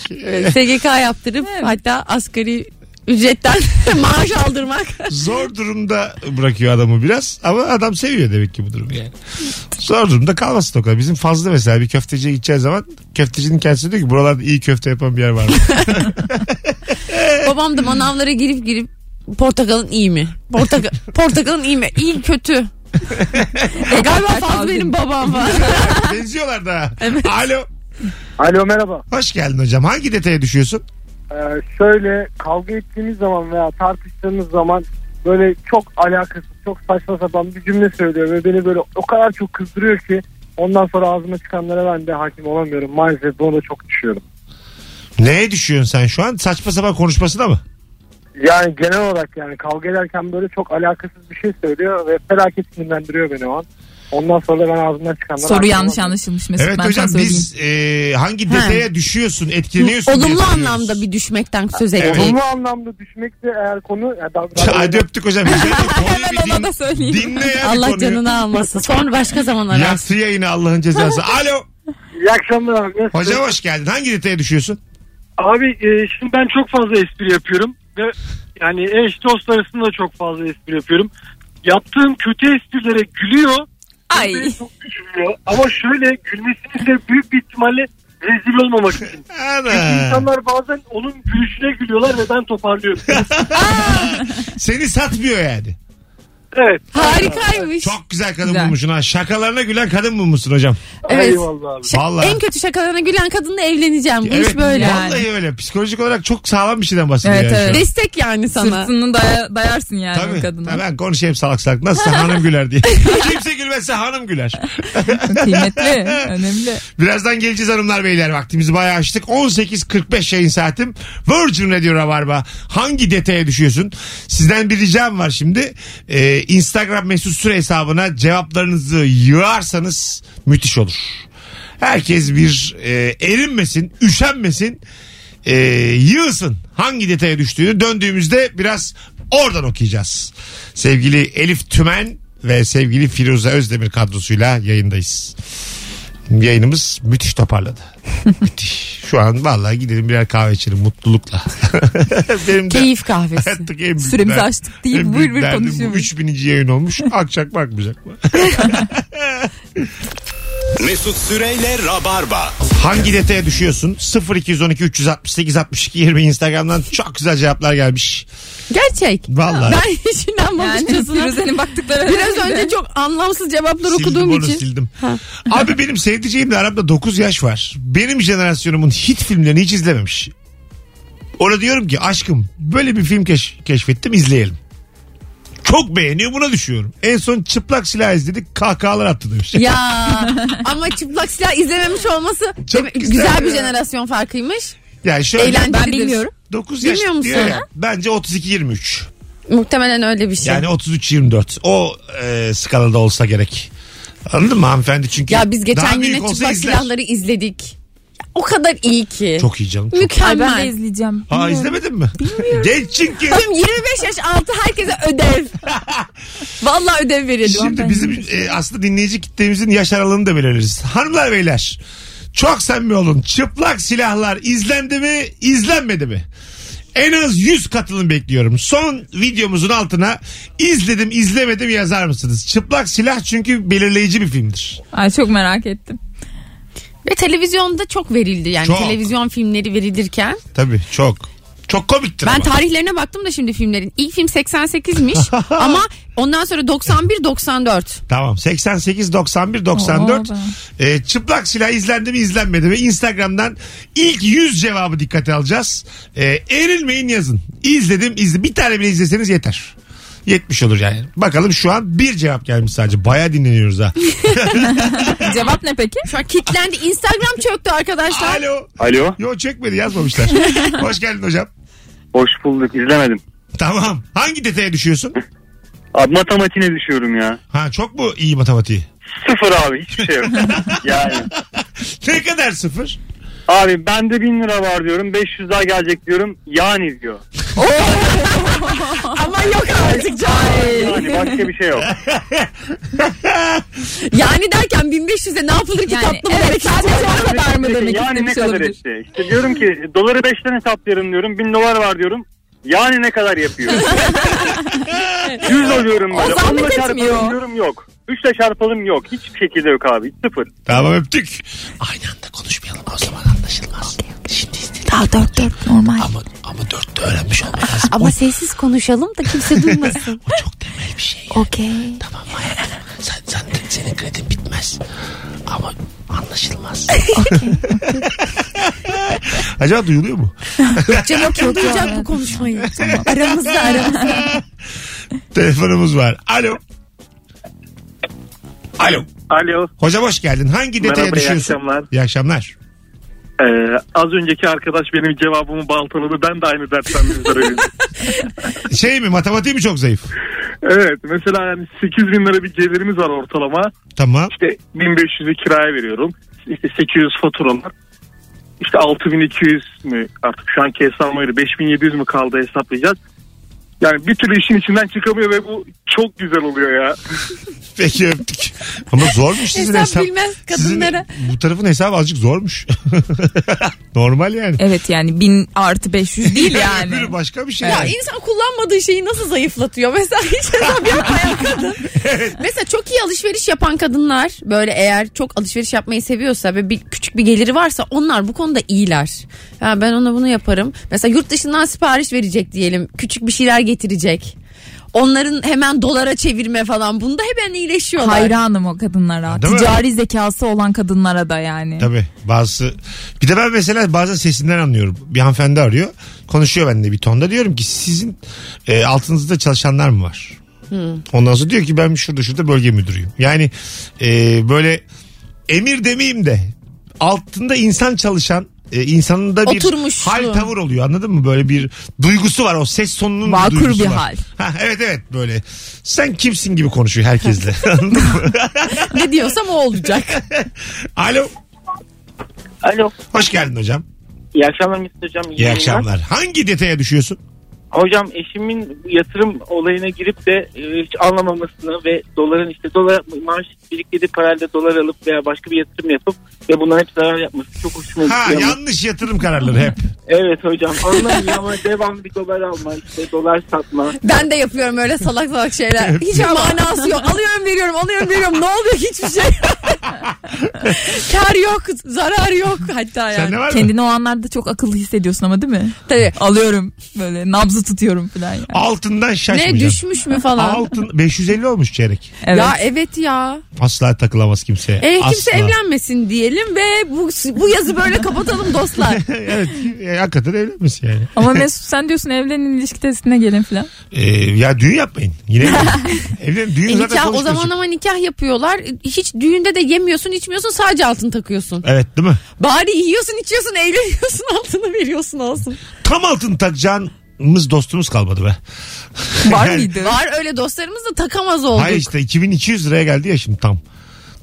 C: SGK yaptırıp hatta asgari ücretten maaş aldırmak.
B: Zor durumda bırakıyor adamı biraz ama adam seviyor demek ki bu durumu yani. Zor durumda kalmasın o kadar. Bizim fazla mesela bir köfteciye gideceği zaman köftecinin kendisi diyor ki buralarda iyi köfte yapan bir yer var mı?
C: Babam da manavlara girip girip portakalın iyi mi? Portaka portakalın iyi mi? İyi kötü. E galiba fazla benim babam var.
B: Benziyorlar da. Alo.
F: Alo merhaba.
B: Hoş geldin hocam. Hangi detaya düşüyorsun?
F: Ee, şöyle kavga ettiğiniz zaman veya tartıştığınız zaman böyle çok alakasız, çok saçma sapan bir cümle söylüyor ve beni böyle o kadar çok kızdırıyor ki ondan sonra ağzıma çıkanlara ben de hakim olamıyorum. Maalesef buna da çok düşüyorum.
B: Neye düşüyorsun sen şu an? Saçma sapan konuşmasına mı?
F: Yani genel olarak yani kavga ederken böyle çok alakasız bir şey söylüyor ve felaket sinirlendiriyor beni o an. Ondan sonra da ben ağzımdan çıkanlara
D: Soru
F: hakim
D: yanlış
F: olamıyorum.
D: anlaşılmış Mesut.
B: evet
D: ben
B: hocam
D: sana söyleyeyim.
B: biz e, hangi detaya düşüyorsun, etkileniyorsun diye
C: Olumlu
B: soruyoruz.
C: anlamda bir düşmekten söz ettik.
F: Olumlu anlamda düşmekse eğer konu... Ya da,
B: Hadi öptük hocam. Bir şey yok. Konuyu
D: Hemen
B: bir
D: ona da
B: din-
D: söyleyeyim.
B: Dinle ya bir
C: Allah
B: konuyu.
C: canını almasın. Sonra başka zaman ararsın.
B: Yaktı yayını Allah'ın cezası. Alo.
F: İyi akşamlar abi. Nasılsın?
B: Hocam hoş geldin. Hangi detaya düşüyorsun?
E: Abi e, şimdi ben çok fazla espri yapıyorum ve yani eş dost arasında da çok fazla espri yapıyorum. Yaptığım kötü esprilere gülüyor.
D: Ay.
E: Çok gülüyor. Ama şöyle gülmesini de büyük bir ihtimalle rezil olmamak için.
B: Ana.
E: İnsanlar bazen onun gülüşüne gülüyorlar ve ben toparlıyorum.
B: Seni satmıyor yani.
E: Evet.
C: Harikaymış.
B: Çok güzel kadın
D: Güzel.
B: bulmuşsun ha. Şakalarına gülen kadın bulmuşsun hocam.
C: Evet.
E: Eyvallah abi.
C: Şa-
B: Vallahi.
C: En kötü şakalarına gülen kadınla evleneceğim. Bu iş böyle.
B: Vallahi öyle. Psikolojik olarak çok sağlam bir şeyden bahsediyor.
D: Evet,
B: yani şu
D: evet.
B: an.
C: Destek yani sana.
D: Sırtını daya- dayarsın yani
B: Tabii.
D: o kadına.
B: Tabii ben konuşayım salak salak. Nasılsa hanım güler diye. Kimse gülmezse hanım güler.
D: Kıymetli, önemli.
B: Birazdan geleceğiz hanımlar beyler. Vaktimizi bayağı açtık. 18.45 yayın saatim. Virgin Radio Rabarba. Hangi detaya düşüyorsun? Sizden bir ricam var şimdi. Ee, Instagram mesut süre hesabına cevaplarınızı yığarsanız müthiş olur. Herkes bir e, erinmesin, üşenmesin. e, yığsın hangi detaya düştüğünü döndüğümüzde biraz oradan okuyacağız. Sevgili Elif Tümen ve sevgili Firuze Özdemir kadrosuyla yayındayız. Yayınımız müthiş toparladı. müthiş. Şu an vallahi gidelim birer kahve içelim mutlulukla. Benim de-
C: Keyif kahvesi.
B: Hayattaki en büyük
D: Süremizi
B: der-
D: açtık deyip
B: en
D: buyur
B: büyük
D: buyur
B: derdim bu.
D: konuşuyoruz.
B: 3000. yayın olmuş. Akacak bakmayacak mı?
A: Mesut Süreyle Rabarba.
B: Hangi detaya düşüyorsun? 0212 368 62 20 Instagram'dan çok güzel cevaplar gelmiş.
C: Gerçek.
B: Vallahi.
C: Ben hiç
D: Yani
C: inanmamışçasına.
D: Firuze'nin baktıkları
C: Biraz
D: önemli de.
C: önce çok anlamsız cevaplar
B: Sildim
C: okuduğum
B: onu,
C: için.
B: sildim. Abi benim sevdiceğimle aramda 9 yaş var. Benim jenerasyonumun hit filmlerini hiç izlememiş. Ona diyorum ki aşkım böyle bir film keş- keşfettim izleyelim. Çok beğeniyor buna düşüyorum. En son çıplak silah izledik kahkahalar attı demiş.
C: Ya ama çıplak silah izlememiş olması
B: Çok
C: demek-
B: güzel
C: güzel,
B: ya.
C: bir jenerasyon farkıymış.
B: Yani şöyle
C: Eğlencelidir.
D: Ben bilmiyorum.
B: 9 yaş
C: Bilmiyor musun?
B: diyor ya. Bence 32-23.
C: Muhtemelen öyle bir şey.
B: Yani 33-24. O e, skalada olsa gerek. Anladın mı hanımefendi? Çünkü
C: ya biz
B: daha
C: geçen
B: büyük
C: yine
B: olsa
C: çıplak
B: izler.
C: silahları izledik. Ya O kadar iyi ki.
B: Çok iyi canım. Çok...
D: Ay ben de
C: Mükemmel.
D: izleyeceğim.
B: Aa izlemedin mi? Genç çünkü.
C: Oğlum 25 yaş altı herkese ödev. Vallahi ödev verelim.
B: Şimdi bizim e, aslında dinleyici kitlemizin yaş aralığını da belirleriz. Hanımlar beyler çok samimi olun. Çıplak silahlar izlendi mi izlenmedi mi? En az 100 katılım bekliyorum. Son videomuzun altına izledim izlemedim yazar mısınız? Çıplak silah çünkü belirleyici bir filmdir.
D: Ay çok merak ettim.
C: Ve televizyonda çok verildi yani
B: Çok.
C: televizyon filmleri verilirken.
B: Tabii çok. Çok komiktir
C: Ben
B: ama.
C: tarihlerine baktım da şimdi filmlerin. İlk film 88'miş ama ondan sonra 91 94.
B: Tamam 88 91 94
D: Oo,
B: Ee, çıplak silah izlendi mi izlenmedi mi Instagram'dan ilk 100 cevabı dikkate alacağız Ee, erilmeyin yazın izledim izle bir tane bile izleseniz yeter 70 olur yani bakalım şu an bir cevap gelmiş sadece baya dinleniyoruz ha
D: Cevap ne peki?
C: Şu an kitlendi. Instagram çöktü arkadaşlar.
B: alo
E: Alo.
B: yo çekmedi yazmamışlar hoş geldin hocam
E: Hoş bulduk. İzlemedim.
B: tamam hangi detaya düşüyorsun
E: Abi matematiğine düşüyorum ya.
B: ha çok mu iyi matematiği
E: Sıfır abi hiçbir şey yok. yani
B: ne kadar sıfır
E: abi bende bin lira var diyorum 500 daha gelecek diyorum yani diyor.
C: Ama yok artık canım.
E: Yani başka bir şey yok.
C: Yani derken 1500'e ne yapılır ki
D: Yani
C: tatlı mı
D: evet,
C: demek
D: sadece
C: istiyor?
D: o kadar mı demek
E: yani ne
D: istemiş
E: kadar
D: olabilir?
E: etti? İşte diyorum ki doları beşten hesaplıyorum diyorum bin dolar var diyorum. Yani ne kadar yapıyor? Yüz alıyorum böyle.
D: O zahmet
E: Onla
D: etmiyor.
E: çarpalım diyorum yok. Üçle çarpalım yok. Hiçbir şekilde yok abi. Sıfır.
B: tamam öptük aynı anda konuşmayalım o zaman anlaşılmaz
C: Daha 4 4 normal.
B: ama, ama dörtte öğrenmiş olmak lazım
C: Ama sessiz konuşalım da kimse duymasın.
B: çok temel bir şey
C: Okey.
B: Tamam hayır. Sen, sen, senin kredin bitmez. Ama anlaşılmaz. Acaba duyuluyor mu?
C: Cem yok yok duyacak bu konuşmayı. Aramızda aramızda.
B: Telefonumuz var. Alo. Alo.
E: Alo.
B: Hocam hoş geldin. Hangi detaya
E: Merhaba, iyi
B: düşüyorsun?
E: akşamlar.
B: İyi akşamlar.
E: Ee, az önceki arkadaş benim cevabımı baltaladı. Ben de aynı dertten müzdaribim.
B: Şey mi matematiği mi çok zayıf?
E: evet mesela yani 8 bin lira bir gelirimiz var ortalama.
B: Tamam.
E: İşte 1500'ü kiraya veriyorum. İşte 800 faturalar. İşte 6200 mü artık şu anki hesabım öyle 5700 mü kaldı hesaplayacağız. Yani bir türlü işin içinden çıkamıyor ve bu çok güzel oluyor ya.
B: Peki öptük. Ama zormuş sizin hesap.
C: Hesap E bilmez kadınlara.
B: Sizin, bu tarafın hesabı azıcık zormuş. Normal yani.
C: E,
D: Evet yani 1000 artı 500 değil yani.
B: Öbürü başka bir şey.
C: Ya
B: yani.
C: insan kullanmadığı şeyi nasıl zayıflatıyor? Mesela hiç hesap yapmayan kadın. Mesela çok iyi alışveriş yapan kadınlar böyle eğer çok alışveriş yapmayı seviyorsa ve bir küçük bir geliri varsa onlar bu konuda iyiler. Ya ben ona bunu yaparım. Mesela yurt dışından sipariş verecek diyelim. Küçük bir şeyler getirecek. Onların hemen dolara çevirme falan. Bunda hemen iyileşiyorlar.
D: Hayranım o kadınlara.
B: Değil mi?
D: Ticari zekası olan kadınlara da yani.
B: Tabii bazı bir de ben mesela bazen sesinden anlıyorum. Bir hanımefendi arıyor. Konuşuyor benimle bir tonda. Diyorum ki sizin e, altınızda çalışanlar mı var?
D: Hmm.
B: Ondan sonra diyor ki ben şurada şurada bölge müdürüyüm. Yani e, böyle emir demeyeyim de altında insan çalışan e, insanın da bir
C: Oturmuşluğu.
B: hal tavır oluyor anladın mı? Böyle bir duygusu var o ses tonunun
D: Vakur
B: duygusu
D: bir
B: var.
D: hal.
B: Ha, evet evet böyle sen kimsin gibi konuşuyor herkesle. Anladın mı?
C: Ne diyorsam o olacak.
B: Alo
G: Alo.
B: hoş geldin hocam.
E: İyi akşamlar Mesut Hocam.
B: İyi
E: yayınlar.
B: akşamlar. Hangi detaya düşüyorsun?
E: Hocam eşimin yatırım olayına girip de e, hiç anlamamasını ve doların işte dolar maaş biriktirdiği parayla dolar alıp veya başka bir yatırım yapıp ve bundan hep zarar yapması çok hoşuma
B: Ha
E: gidiyor.
B: yanlış yatırım kararları hep.
E: Evet hocam anlamıyor ama devamlı dolar alma işte dolar satma.
C: Ben de yapıyorum öyle salak salak şeyler. Hiç manası yok. Alıyorum veriyorum alıyorum veriyorum. Ne oluyor hiçbir şey. Kar yok zarar yok hatta yani.
B: Sende var mı?
D: Kendini o anlarda çok akıllı hissediyorsun ama değil mi?
C: Tabii.
D: Alıyorum böyle nabzı tutuyorum falan yani.
B: Altından şaşmayacaksın.
C: Ne düşmüş mü falan.
B: Altın 550 olmuş çeyrek.
D: Evet.
C: Ya evet ya.
B: Asla takılamaz kimseye.
C: E,
B: Asla.
C: kimse evlenmesin diyelim ve bu bu yazı böyle kapatalım dostlar.
B: evet e, hakikaten evlenmiş yani.
D: Ama Mesut sen diyorsun evlenin ilişki testine gelin falan.
B: E, ya düğün yapmayın. Yine evlenin. evlenin. Düğün
C: E,
B: zaten
C: nikah o
B: konuşmuyorsun.
C: zaman ama nikah yapıyorlar. Hiç düğünde de yemiyorsun, içmiyorsun, sadece altın takıyorsun.
B: Evet değil mi?
C: Bari yiyorsun, içiyorsun, eğleniyorsun, altını veriyorsun olsun.
B: Tam altın takacağımız dostumuz kalmadı be.
D: Var
B: Yani-
D: mıydı?
C: Var öyle dostlarımız da takamaz olduk.
B: Hayır işte 2200 liraya geldi ya şimdi tam.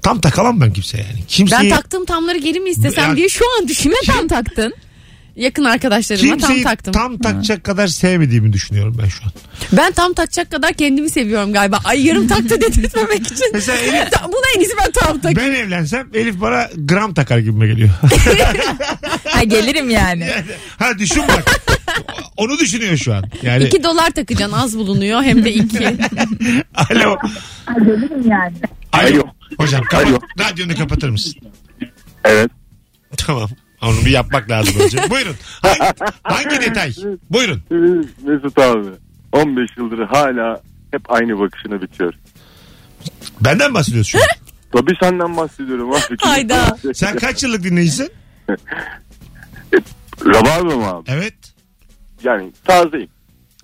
B: Tam takamam ben kimseye yani.
C: ben
B: Kimseyi,
C: taktığım tamları geri mi istesem
B: şey- Ya-
C: diye şu an düşünme tam tak.
D: taktın.
C: Yakın arkadaşlarıma tam
B: kimseyi tam,
C: taktım.
B: takacak kadar sevmediğimi düşünüyorum ben şu an.
C: Ben tam takacak kadar kendimi seviyorum galiba. Ay yarım taktı dedirtmemek için.
B: Mesela Elif-
C: Ta- Buna en iyisi ben tam takayım.
B: Ben evlensem Elif bana gram takar gibime geliyor.
D: Ha gelirim yani.
B: ha düşün bak. Onu düşünüyor şu an. Yani
C: 2 dolar takacaksın az bulunuyor hem de iki.
B: alo. Alo.
F: Alo.
B: Hocam kapat.
F: Alo.
B: Radyonu kapatır mısın?
F: Evet.
B: Tamam. Onu bir yapmak lazım önce. Buyurun. Hangi, hangi detay? Buyurun.
F: Ee, Mesut abi 15 yıldır hala hep aynı bakışına bitiyor.
B: Benden bahsediyorsun şu an.
F: Tabii senden bahsediyorum abi.
C: Hayda.
B: Sen kaç yıllık dinleyicisin?
F: Rabarba mı abi?
B: Evet.
F: Yani tazeyim.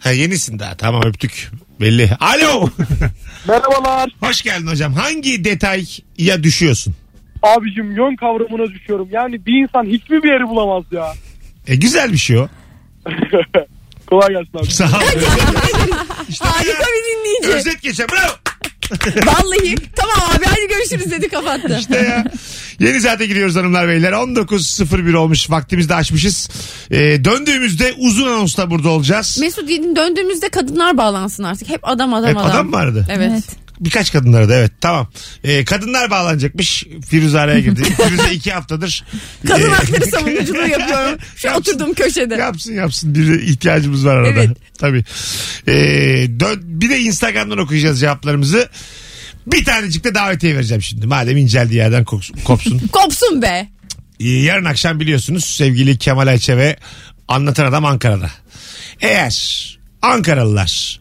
B: Ha yenisin daha. Tamam öptük. Belli. Alo.
E: Merhabalar
B: Hoş geldin hocam. Hangi detaya düşüyorsun?
E: abicim yön kavramına düşüyorum yani bir insan hiçbir bir yeri bulamaz ya.
B: E güzel bir şey o.
E: Kolay gelsin abi.
B: Sağ ol. işte
C: Harika bir dinleyici.
B: Özet geçer. Bravo.
C: Vallahi tamam abi hadi görüşürüz dedi kapattı.
B: İşte ya. E, Yeni saate giriyoruz hanımlar beyler. 19.01 olmuş. Vaktimizi de aşmışız. Ee, döndüğümüzde uzun anonsla burada olacağız.
C: Mesut Yedin döndüğümüzde kadınlar bağlansın artık. Hep adam adam
B: Hep
C: adam.
B: adam vardı.
C: Evet.
B: Birkaç kadınlara da evet tamam. Ee, kadınlar bağlanacakmış. Firuze araya girdi. Firuze iki haftadır.
C: Kadın
B: Ee,
C: hakları savunuculuğu yapıyorum. Şu
B: Yapsın.
C: oturduğum köşede.
B: Yapsın yapsın. Bir de ihtiyacımız var arada.
C: Evet.
B: Tabii. Ee, dön- bir de Instagram'dan okuyacağız cevaplarımızı. Bir tanecik de davetiye vereceğim şimdi. Madem inceldiği yerden kopsun. kopsun.
C: Kopsun be.
B: Ee, yarın akşam biliyorsunuz sevgili Kemal Ayçe ve Anlatan Adam Ankara'da. Eğer Ankaralılar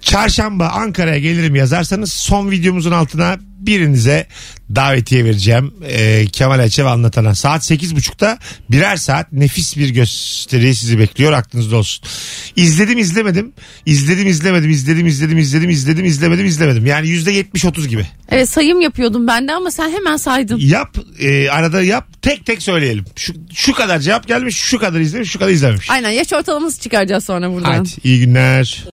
B: çarşamba Ankara'ya gelirim yazarsanız son videomuzun altına birinize davetiye vereceğim. Ee, Kemal Ayçe ve Anlatan'a saat 8.30'da birer saat nefis bir gösteri sizi bekliyor aklınızda olsun. İzledim izlemedim, izledim izlemedim, izledim izledim izledim izledim izlemedim izlemedim. Yani %70-30 gibi.
C: Evet sayım yapıyordum ben de ama sen hemen saydın.
B: Yap e, arada yap tek tek söyleyelim. Şu, şu kadar cevap gelmiş şu kadar izlemiş şu kadar izlememiş.
C: Aynen yaş ortalaması çıkaracağız sonra buradan.
B: Hadi iyi günler.